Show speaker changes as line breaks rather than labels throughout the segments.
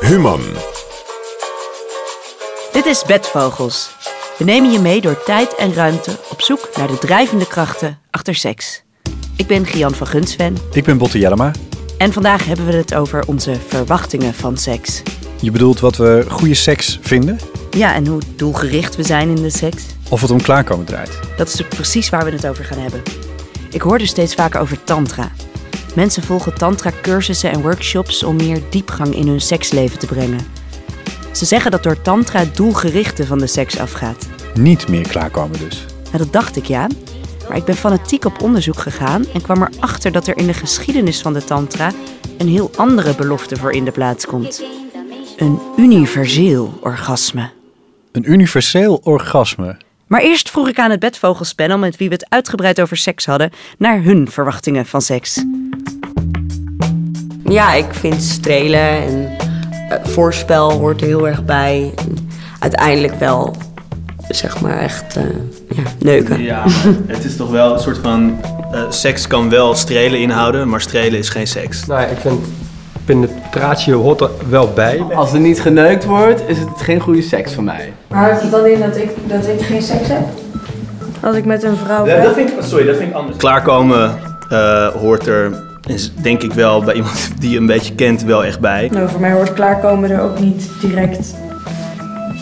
Human.
Dit is Bedvogels. We nemen je mee door tijd en ruimte op zoek naar de drijvende krachten achter seks. Ik ben Gian van Gunsven
Ik ben Botte Jellema.
en vandaag hebben we het over onze verwachtingen van seks.
Je bedoelt wat we goede seks vinden?
Ja, en hoe doelgericht we zijn in de seks.
Of het om klaarkomen draait?
Dat is precies waar we het over gaan hebben. Ik hoor dus steeds vaker over tantra. Mensen volgen tantra-cursussen en workshops om meer diepgang in hun seksleven te brengen. Ze zeggen dat door tantra het doelgerichte van de seks afgaat.
Niet meer klaarkomen dus.
Nou, dat dacht ik ja. Maar ik ben fanatiek op onderzoek gegaan en kwam erachter dat er in de geschiedenis van de tantra een heel andere belofte voor in de plaats komt. Een universeel orgasme.
Een universeel orgasme.
Maar eerst vroeg ik aan het bedvogelspanel met wie we het uitgebreid over seks hadden, naar hun verwachtingen van seks.
Ja, ik vind strelen en eh, voorspel hoort er heel erg bij. En uiteindelijk wel, zeg maar, echt eh, ja, neuken.
Ja, maar het is toch wel een soort van. eh, seks kan wel strelen inhouden, maar strelen is geen seks.
Nou ja, ik vind penetratie hoort er wel bij.
Als er niet geneukt wordt, is het geen goede seks voor mij.
Maar houdt het dan in dat ik, dat ik geen seks heb? Als ik met een vrouw ben?
vind ik, oh, sorry, dat vind ik anders. Klaarkomen eh, hoort er, is denk ik wel bij iemand die je een beetje kent, wel echt bij.
Nou, voor mij hoort klaarkomen er ook niet direct.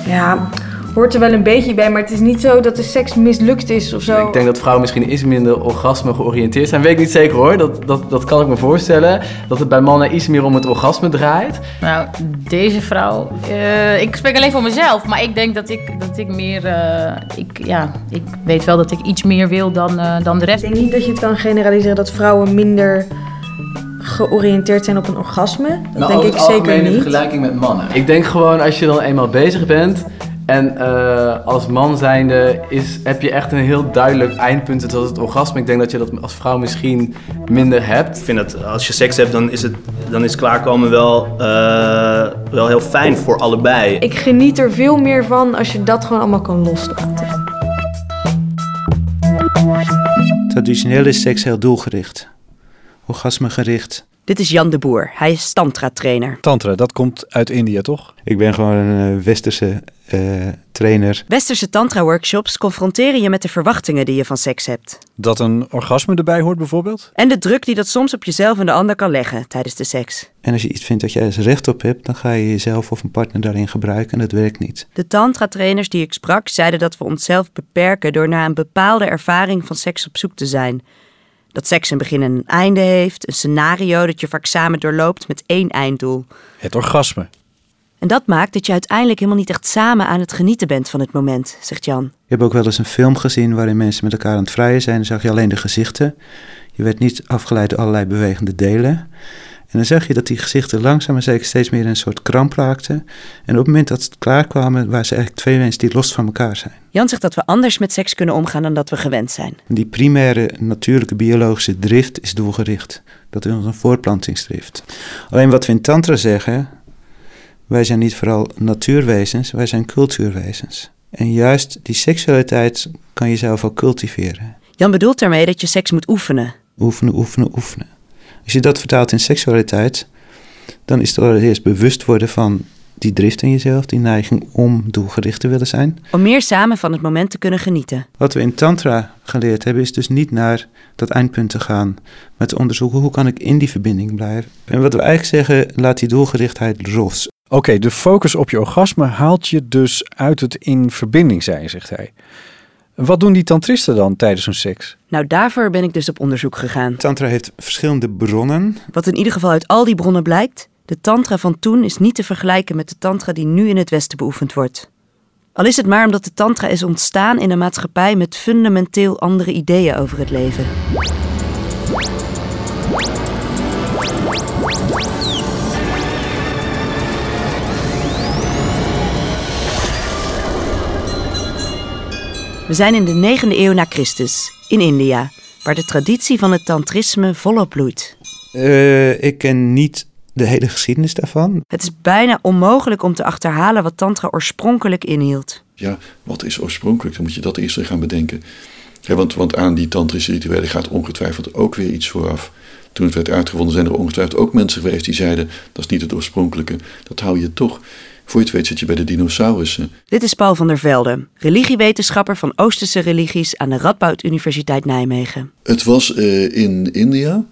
Ja, hoort er wel een beetje bij, maar het is niet zo dat de seks mislukt is of zo.
Ik denk dat vrouwen misschien iets minder orgasme georiënteerd zijn. Weet ik niet zeker hoor, dat, dat, dat kan ik me voorstellen. Dat het bij mannen iets meer om het orgasme draait.
Nou, deze vrouw. eh, ik spreek alleen voor mezelf, maar ik denk dat ik, dat ik meer. eh, ik, ja, ik weet wel dat ik iets meer wil dan, eh, dan de
Ik
rest.
denk niet dat je het kan generaliseren dat vrouwen minder georiënteerd zijn op een orgasme.
Nou,
Dat denk ik zeker niet.
vergelijking met mannen. Ik denk gewoon als je dan eenmaal bezig bent. En eh, als man zijnde is, heb je echt een heel duidelijk eindpunt. en Dat is het orgasme. Ik denk dat je dat als vrouw misschien minder hebt.
Ik vind dat als je seks hebt, dan is, het, dan is klaarkomen wel, eh, wel heel fijn voor allebei.
Ik geniet er veel meer van als je dat gewoon allemaal kan loslaten.
Traditioneel is seks heel doelgericht. Orgasmegericht.
Dit is Jan de Boer. Hij is tantra-trainer.
Tantra, dat komt uit India toch?
Ik ben gewoon een eh, westerse eh, trainer.
Westerse tantra-workshops confronteren je met de verwachtingen die je van seks hebt.
Dat een orgasme erbij hoort bijvoorbeeld?
En de druk die dat soms op jezelf en de ander kan leggen tijdens de seks.
En als je iets vindt dat je ergens recht op hebt, dan ga je jezelf of een partner daarin gebruiken en dat werkt niet.
De tantra-trainers die ik sprak zeiden dat we onszelf beperken door na een bepaalde ervaring van seks op zoek te zijn. Dat seks een begin en een einde heeft, een scenario dat je vaak samen doorloopt met één einddoel.
Het orgasme.
En dat maakt dat je uiteindelijk helemaal niet echt samen aan het genieten bent van het moment, zegt Jan.
Ik heb ook wel eens een film gezien waarin mensen met elkaar aan het vrijen zijn. Dan zag je alleen de gezichten. Je werd niet afgeleid door allerlei bewegende delen. En dan zag je dat die gezichten langzaam maar zeker steeds meer in een soort kramp raakten. En op het moment dat ze klaar kwamen, waren ze eigenlijk twee mensen die los van elkaar zijn.
Jan zegt dat we anders met seks kunnen omgaan dan dat we gewend zijn.
Die primaire natuurlijke biologische drift is doelgericht. Dat is een voortplantingsdrift. Alleen wat we in Tantra zeggen, wij zijn niet vooral natuurwezens, wij zijn cultuurwezens. En juist die seksualiteit kan je zelf ook cultiveren.
Jan bedoelt daarmee dat je seks moet oefenen.
Oefenen, oefenen, oefenen. Als je dat vertaalt in seksualiteit, dan is het allereerst bewust worden van die drift in jezelf, die neiging om doelgericht te willen zijn.
Om meer samen van het moment te kunnen genieten.
Wat we in Tantra geleerd hebben, is dus niet naar dat eindpunt te gaan, maar te onderzoeken hoe kan ik in die verbinding blijven. En wat we eigenlijk zeggen, laat die doelgerichtheid los.
Oké, de focus op je orgasme haalt je dus uit het in verbinding zijn, zegt hij. Wat doen die tantristen dan tijdens hun seks?
Nou, daarvoor ben ik dus op onderzoek gegaan.
Tantra heeft verschillende bronnen.
Wat in ieder geval uit al die bronnen blijkt, de tantra van toen is niet te vergelijken met de tantra die nu in het Westen beoefend wordt. Al is het maar omdat de tantra is ontstaan in een maatschappij met fundamenteel andere ideeën over het leven. We zijn in de 9e eeuw na Christus, in India, waar de traditie van het tantrisme volop bloeit.
Eh, ik ken niet de hele geschiedenis daarvan.
Het is bijna onmogelijk om te achterhalen wat tantra oorspronkelijk inhield.
Ja, wat is oorspronkelijk? Dan moet je dat eerst weer gaan bedenken. Hè, want, want aan die tantrische rituelen gaat ongetwijfeld ook weer iets vooraf. Toen het werd uitgevonden zijn er ongetwijfeld ook mensen geweest die zeiden, dat is niet het oorspronkelijke, dat hou je toch. Voor je het weet zit je bij de dinosaurussen.
Dit is Paul van der Velde, religiewetenschapper van Oosterse religies aan de Radboud Universiteit Nijmegen.
Het was eh, in India,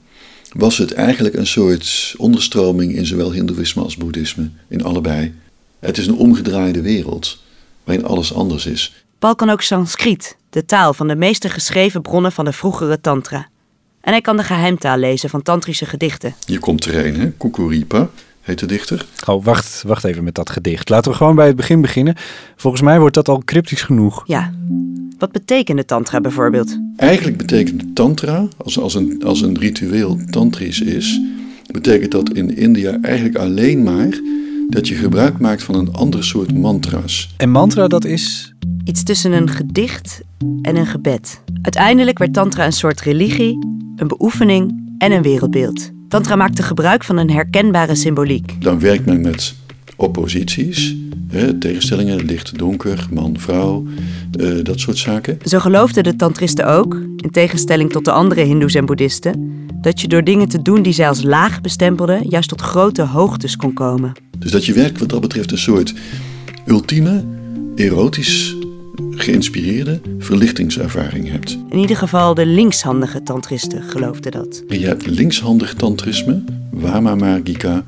was het eigenlijk een soort onderstroming in zowel hindoeïsme als boeddhisme, in allebei. Het is een omgedraaide wereld, waarin alles anders is.
Paul kan ook Sanskriet, de taal van de meeste geschreven bronnen van de vroegere tantra. En hij kan de geheimtaal lezen van tantrische gedichten.
Je komt er een, hè? Kukuripa heet de dichter.
Oh, wacht, wacht even met dat gedicht. Laten we gewoon bij het begin beginnen. Volgens mij wordt dat al cryptisch genoeg.
Ja. Wat betekende tantra bijvoorbeeld?
Eigenlijk betekent tantra, als, als, een, als een ritueel tantrisch is, betekent dat in India eigenlijk alleen maar dat je gebruik maakt van een ander soort mantra's.
En mantra, dat is.
Iets tussen een gedicht en een gebed. Uiteindelijk werd tantra een soort religie, een beoefening en een wereldbeeld. Tantra maakte gebruik van een herkenbare symboliek.
Dan werkt men met opposities, hè, tegenstellingen, licht, donker, man, vrouw, eh, dat soort zaken.
Zo geloofden de tantristen ook, in tegenstelling tot de andere hindoes en boeddhisten, dat je door dingen te doen die zij als laag bestempelden, juist tot grote hoogtes kon komen.
Dus dat je werkt wat dat betreft een soort ultieme, erotisch geïnspireerde verlichtingservaring hebt.
In ieder geval de linkshandige tantristen geloofden dat.
Je hebt linkshandig tantrisme, Wama Margika,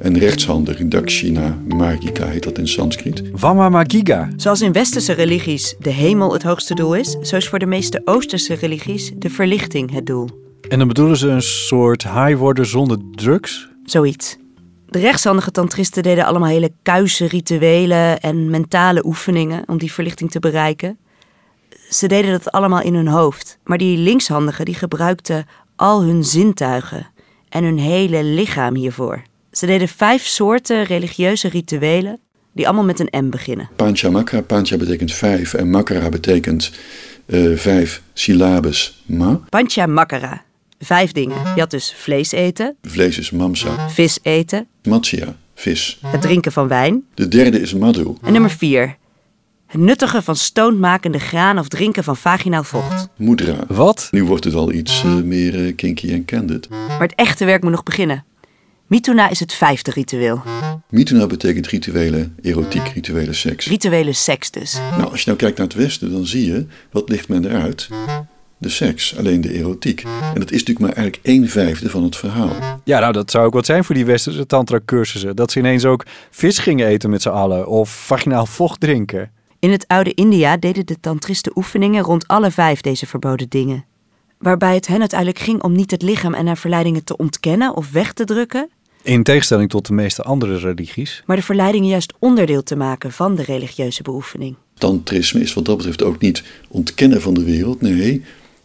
en rechtshandig Dakshina Margika heet dat in Sanskriet.
Wama Magiga.
Zoals in westerse religies de hemel het hoogste doel is, zo is voor de meeste oosterse religies de verlichting het doel.
En dan bedoelen ze een soort high worden zonder drugs?
Zoiets. De rechtshandige tantristen deden allemaal hele kuise rituelen en mentale oefeningen om die verlichting te bereiken. Ze deden dat allemaal in hun hoofd. Maar die linkshandigen die gebruikten al hun zintuigen en hun hele lichaam hiervoor. Ze deden vijf soorten religieuze rituelen die allemaal met een M beginnen.
Panchamakra, pancha betekent vijf en makara betekent eh, vijf syllabes ma.
Panchamakara. Vijf dingen. Je had dus vlees eten,
Vlees is mamsa.
vis eten,
Matsya, vis.
het drinken van wijn.
De derde is madhu.
En nummer vier. Het nuttigen van stoonmakende graan of drinken van vaginaal vocht.
Mudra.
Wat?
Nu wordt het al iets eh, meer eh, kinky en candid.
Maar het echte werk moet nog beginnen. Mituna is het vijfde ritueel.
Mituna betekent rituele, erotiek rituele seks.
Rituele seks dus.
Nou, als je nou kijkt naar het Westen, dan zie je, wat ligt men eruit? De seks, alleen de erotiek. En dat is natuurlijk maar eigenlijk één vijfde van het verhaal.
Ja, nou, dat zou ook wat zijn voor die westerse tantra-cursussen. Dat ze ineens ook vis gingen eten met z'n allen. Of vaginaal vocht drinken.
In het oude India deden de tantristen oefeningen rond alle vijf deze verboden dingen. Waarbij het hen uiteindelijk ging om niet het lichaam en haar verleidingen te ontkennen of weg te drukken,
In tegenstelling tot de meeste andere religies.
maar de verleidingen juist onderdeel te maken van de religieuze beoefening.
Tantrisme is wat dat betreft ook niet ontkennen van de wereld, nee,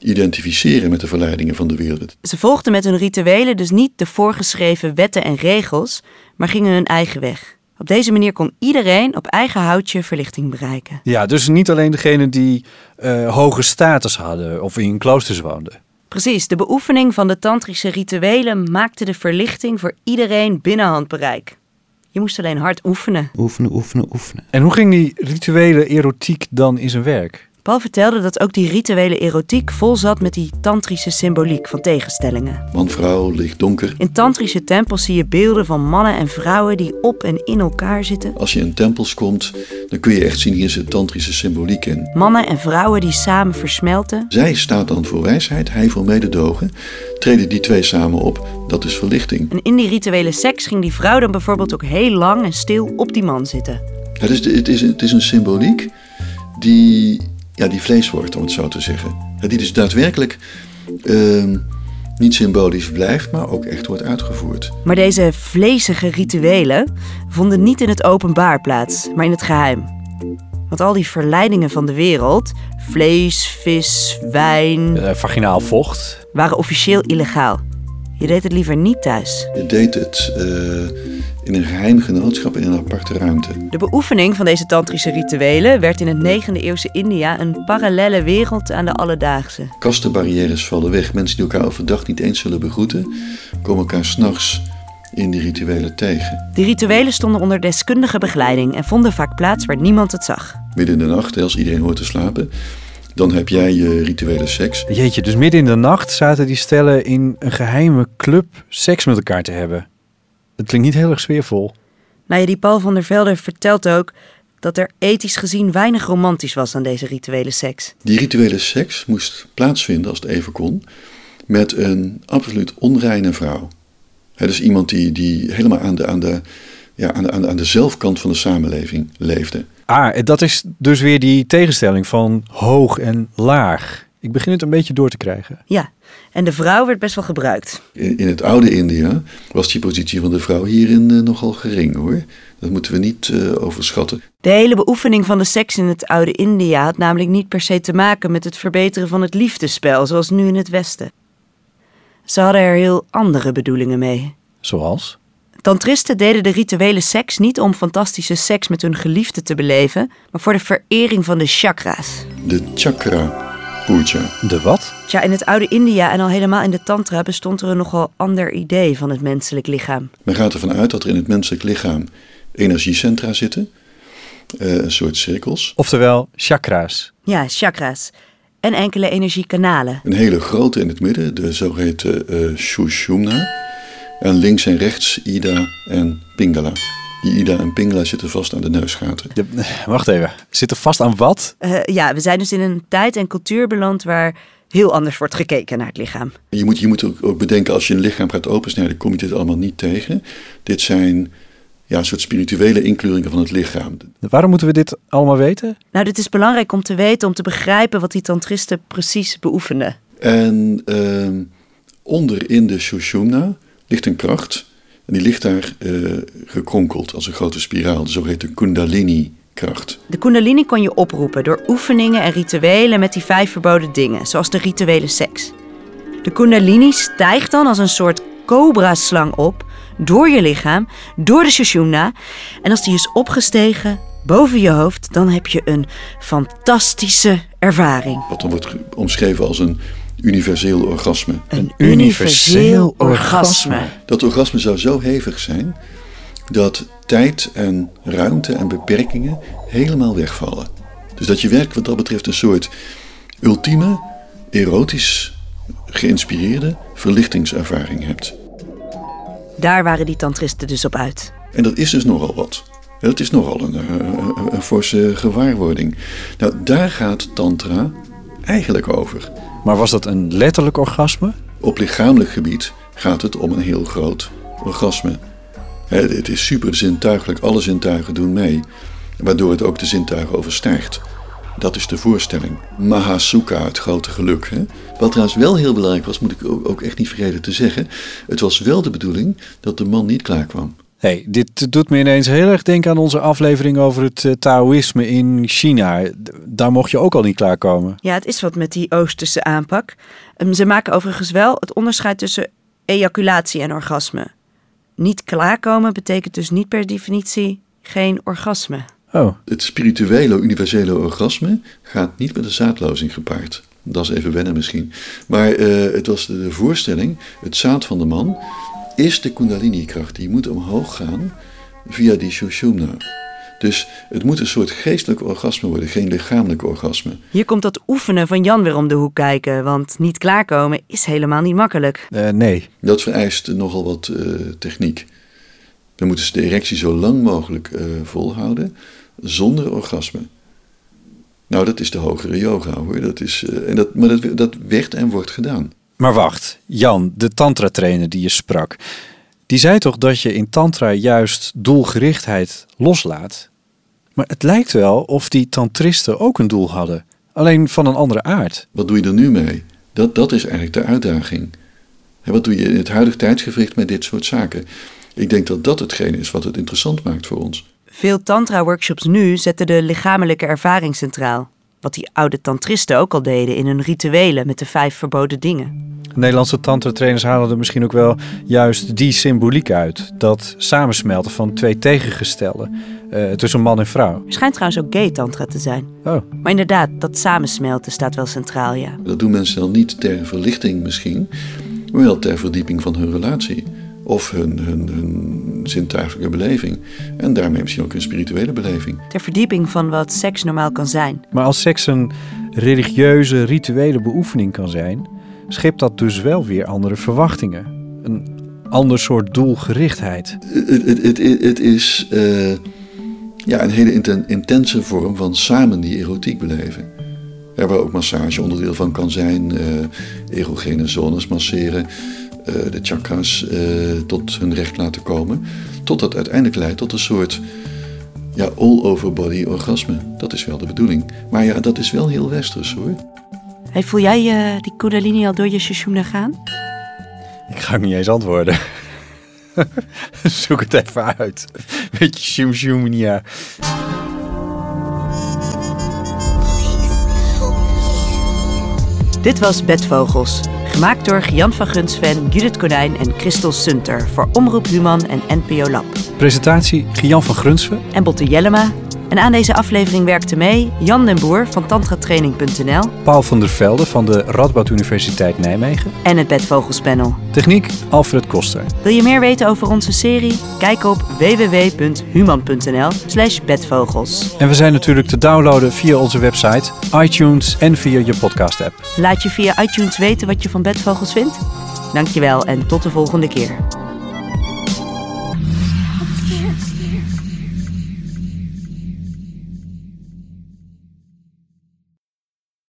identificeren met de verleidingen van de wereld.
Ze volgden met hun rituelen dus niet de voorgeschreven wetten en regels, maar gingen hun eigen weg. Op deze manier kon iedereen op eigen houtje verlichting bereiken.
Ja, dus niet alleen degenen die eh, hoge status hadden of in kloosters woonden.
Precies, de beoefening van de tantrische rituelen maakte de verlichting voor iedereen binnen handbereik. Je moest alleen hard oefenen.
Oefenen, oefenen, oefenen.
En hoe ging die rituele erotiek dan in zijn werk?
Paul vertelde dat ook die rituele erotiek vol zat met die tantrische symboliek van tegenstellingen.
Man, vrouw, licht, donker.
In tantrische tempels zie je beelden van mannen en vrouwen die op en in elkaar zitten.
Als je in tempels komt, dan kun je echt zien, hier zit tantrische symboliek in.
Mannen en vrouwen die samen versmelten.
Zij staat dan voor wijsheid, hij voor mededogen. Treden die twee samen op, dat is verlichting.
En in die rituele seks ging die vrouw dan bijvoorbeeld ook heel lang en stil op die man zitten.
Het is, het is, het is een symboliek die, ja, die vlees wordt, om het zo te zeggen. Ja, Die dus daadwerkelijk ehm, niet symbolisch blijft, maar ook echt wordt uitgevoerd.
Maar deze vlezige rituelen vonden niet in het openbaar plaats, maar in het geheim. Want al die verleidingen van de wereld, vlees, vis, wijn,
Eh, vaginaal vocht.
waren officieel illegaal. Je deed het liever niet thuis.
Je deed het eh, in een geheim genootschap in een aparte ruimte.
De beoefening van deze tantrische rituelen werd in het 9e eeuwse India een parallele wereld aan de alledaagse.
Kastenbarrières vallen weg. Mensen die elkaar overdag niet eens zullen begroeten, komen elkaar s'nachts in die rituelen tegen.
Die rituelen stonden onder deskundige begeleiding en vonden vaak plaats waar niemand het zag.
Midden in de nacht, hè, als iedereen hoort te slapen, Dan heb jij je rituele seks.
Jeetje, dus midden in de nacht zaten die stellen in een geheime club seks met elkaar te hebben. Het klinkt niet heel erg sfeervol.
Nou ja, die Paul van der Velde vertelt ook dat er ethisch gezien weinig romantisch was aan deze rituele seks.
Die rituele seks moest plaatsvinden, als het even kon, met een absoluut onreine vrouw. Hè, dus iemand die, die helemaal aan de, aan, de, ja, aan, de, aan, de, aan de zelfkant van de samenleving leefde.
Ah, dat is dus weer die tegenstelling van hoog en laag. Ik begin het een beetje door te krijgen.
Ja, en de vrouw werd best wel gebruikt.
In, in het oude India was die positie van de vrouw hierin eh, nogal gering hoor. Dat moeten we niet eh, overschatten.
De hele beoefening van de seks in het oude India had namelijk niet per se te maken met het verbeteren van het liefdespel, zoals nu in het Westen. Ze hadden er heel andere bedoelingen mee.
Zoals?
Tantristen deden de rituele seks niet om fantastische seks met hun geliefde te beleven, maar voor de verering van de chakra's.
De chakra puja.
De wat?
Tja, in het oude India en al helemaal in de tantra bestond er een nogal ander idee van het menselijk lichaam.
Men gaat ervan uit dat er in het menselijk lichaam energiecentra zitten. eh, een soort cirkels.
Oftewel chakra's.
Ja, chakra's. En enkele energiekanalen.
Een hele grote in het midden, de zogeheten eh Sushumna. En links en rechts Ida en Pingala. Die Ida en Pingala zitten vast aan de neusgaten.
Wacht even. Zitten vast aan wat?
Eh, ja, we zijn dus in een tijd en cultuur beland waar heel anders wordt gekeken naar het lichaam.
Je moet, je moet ook, ook bedenken, als je een lichaam gaat opensnijden, kom je dit allemaal niet tegen. Dit zijn ja, een soort spirituele inkleuringen van het lichaam.
Waarom moeten we dit allemaal weten?
Nou, dit is belangrijk om te weten, om te begrijpen wat die tantristen precies beoefenden.
En ehm, onder in de Sushumna ligt een kracht. En die ligt daar eh, gekronkeld als een grote spiraal, de zogeheten Kundalini-kracht.
De kundalini kon je oproepen door oefeningen en rituelen met die vijf verboden dingen, zoals de rituele seks. De kundalini stijgt dan als een soort cobra-slang op, door je lichaam, door de sushumna. En als die is opgestegen, boven je hoofd, dan heb je een fantastische ervaring.
Wat dan wordt ge- omschreven als een universeel orgasme.
Een universeel orgasme.
Dat orgasme zou zo hevig zijn dat tijd en ruimte en beperkingen helemaal wegvallen. Dus dat je werkt wat dat betreft een soort ultieme, erotisch geïnspireerde verlichtingservaring hebt.
Daar waren die tantristen dus op uit.
En dat is dus nogal wat. Ja, Dat is nogal een, eh, een- een forse gewaarwording. Nou, daar gaat Tantra eigenlijk over.
Maar was dat een letterlijk orgasme?
Op lichamelijk gebied gaat het om een heel groot orgasme. Hè, Het is super zintuigelijk, alle zintuigen doen mee, waardoor het ook de zintuigen overstijgt. Dat is de voorstelling. Mahasukha, het grote geluk. Hè? Wat trouwens wel heel belangrijk was, moet ik ook ook echt niet vergeten te zeggen. Het was wel de bedoeling dat de man niet klaar kwam.
hey, dit doet me ineens heel erg denken aan onze aflevering over het eh, Taoïsme in China. D- Daar mocht je ook al niet klaarkomen.
Ja, het is wat met die Oosterse aanpak. Ehm, ze maken overigens wel het onderscheid tussen ejaculatie en orgasme. Niet klaarkomen betekent dus niet per definitie geen orgasme.
Oh.
Het spirituele, universele orgasme gaat niet met een zaadlozing gepaard. Dat is even wennen misschien. Maar eh, het was de, de voorstelling, het zaad van de man is de kundalini-kracht. Die moet omhoog gaan via die sushumna. Dus het moet een soort geestelijk orgasme worden, geen lichamelijk orgasme.
Hier komt dat oefenen van Jan weer om de hoek kijken, want niet klaarkomen is helemaal niet makkelijk.
Eh, nee.
Dat vereist nogal wat eh, techniek. We moeten de erectie zo lang mogelijk eh, volhouden zonder orgasme. Nou, dat is de hogere yoga hoor. Dat is, eh, en dat, maar dat, dat werd en wordt gedaan.
Maar wacht, Jan, de tantra-trainer die je sprak, die zei toch dat je in tantra juist doelgerichtheid loslaat? Maar het lijkt wel of die tantristen ook een doel hadden, alleen van een andere aard.
Wat doe je er nu mee? Dat, dat is eigenlijk de uitdaging. En wat doe je in het huidige tijdsgevricht met dit soort zaken? Ik denk dat dat hetgeen is wat het interessant maakt voor ons.
Veel tantra-workshops nu zetten de lichamelijke ervaring centraal. Wat die oude tantristen ook al deden in hun rituelen met de vijf verboden dingen.
Nederlandse tantra-trainers halen er misschien ook wel juist die symboliek uit. Dat samensmelten van twee tegengestelden eh, tussen man en vrouw.
Er schijnt trouwens ook gay tantra te zijn.
Oh.
Maar inderdaad, dat samensmelten staat wel centraal, ja.
Dat doen mensen dan niet ter verlichting misschien, maar wel ter verdieping van hun relatie. Of hun, hun, hun zintuigelijke beleving. En daarmee misschien ook hun spirituele beleving.
Ter verdieping van wat seks normaal kan zijn.
Maar als seks een religieuze, rituele beoefening kan zijn, schept dat dus wel weer andere verwachtingen. Een ander soort doelgerichtheid.
Het- Het het- het is eh, ja, een hele inten- intense vorm van samen die erotiek beleven. Ja, waar ook massage onderdeel van kan zijn. eh, erogene zones masseren. eh, de chakras eh, tot hun recht laten komen. Tot dat uiteindelijk leidt tot een soort ja, all-over body orgasme. Dat is wel de bedoeling. Maar ja, dat is wel heel westers hoor.
Hey, voel jij eh, die kundalini al door je shishuna gaan?
Ik ga ook niet eens antwoorden. Zoek het even uit. Beetje shum shumnia.
Dit was Bedvogels, gemaakt door Jan van Gunsven, Judith Konijn en Christel Sunter voor Omroep Human en NPO Lab.
Presentatie Gian van Grunsven.
En Botte Jellema. En aan deze aflevering werkten mee Jan den Boer van tantratraining.nl
Paul van der Velde van de Radboud Universiteit Nijmegen.
en het Bedvogelspanel.
Techniek Alfred Koster.
Wil je meer weten over onze serie? Kijk op www.human.nl slash bedvogels.
En we zijn natuurlijk te downloaden via onze website, iTunes en via je podcast app.
Laat je via iTunes weten wat je van bedvogels vindt? Dankjewel en tot de volgende keer.
I'm scared. scared.